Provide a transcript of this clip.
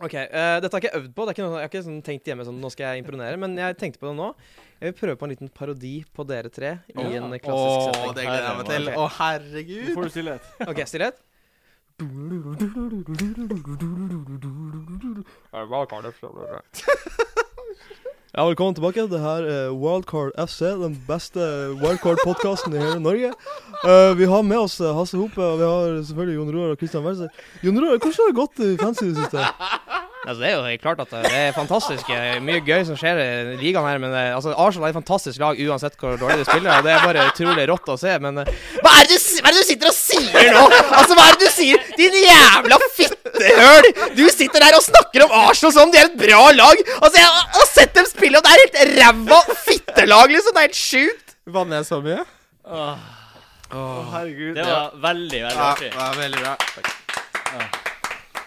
Ok, eh, Dette har jeg ikke øvd på. Det er ikke noe, jeg har ikke sånn tenkt hjemme sånn, nå skal jeg imponere, men jeg tenkte på det nå. Jeg vil prøve på en liten parodi på dere tre i Ja. en klassisk Åh, setting. det gleder jeg meg til. Å, Nå herregud. får du stillhet. Ok, stillhet. Ja, velkommen tilbake. Det her er Wildcard FC, den beste wildcard-podkasten i hele Norge. Eh, vi har med oss eh, Hasse Hope, og vi har selvfølgelig Jon Roar og Christian Welser. Jon Roar, hvordan har det gått i fancy i det siste? Altså, det er jo helt klart at det er fantastisk. eh, Mye gøy som skjer i ligaen her. Men eh, altså, Arsenal er et fantastisk lag uansett hvor dårlig de spiller. Og Det er bare utrolig rått å se. Men eh, hva, er det du, si- hva er det du sitter og sier nå?! Altså, Hva er det du sier?! Din jævla fittehøl! Du sitter der og snakker om Arsenal som om de er et bra lag! Altså, Jeg har- har sett dem spille, og det er helt ræva fittelag, liksom! Det er helt sjukt! Banner jeg så mye? Å, herregud. Det var veldig, veldig Ja, artig. det var veldig bra.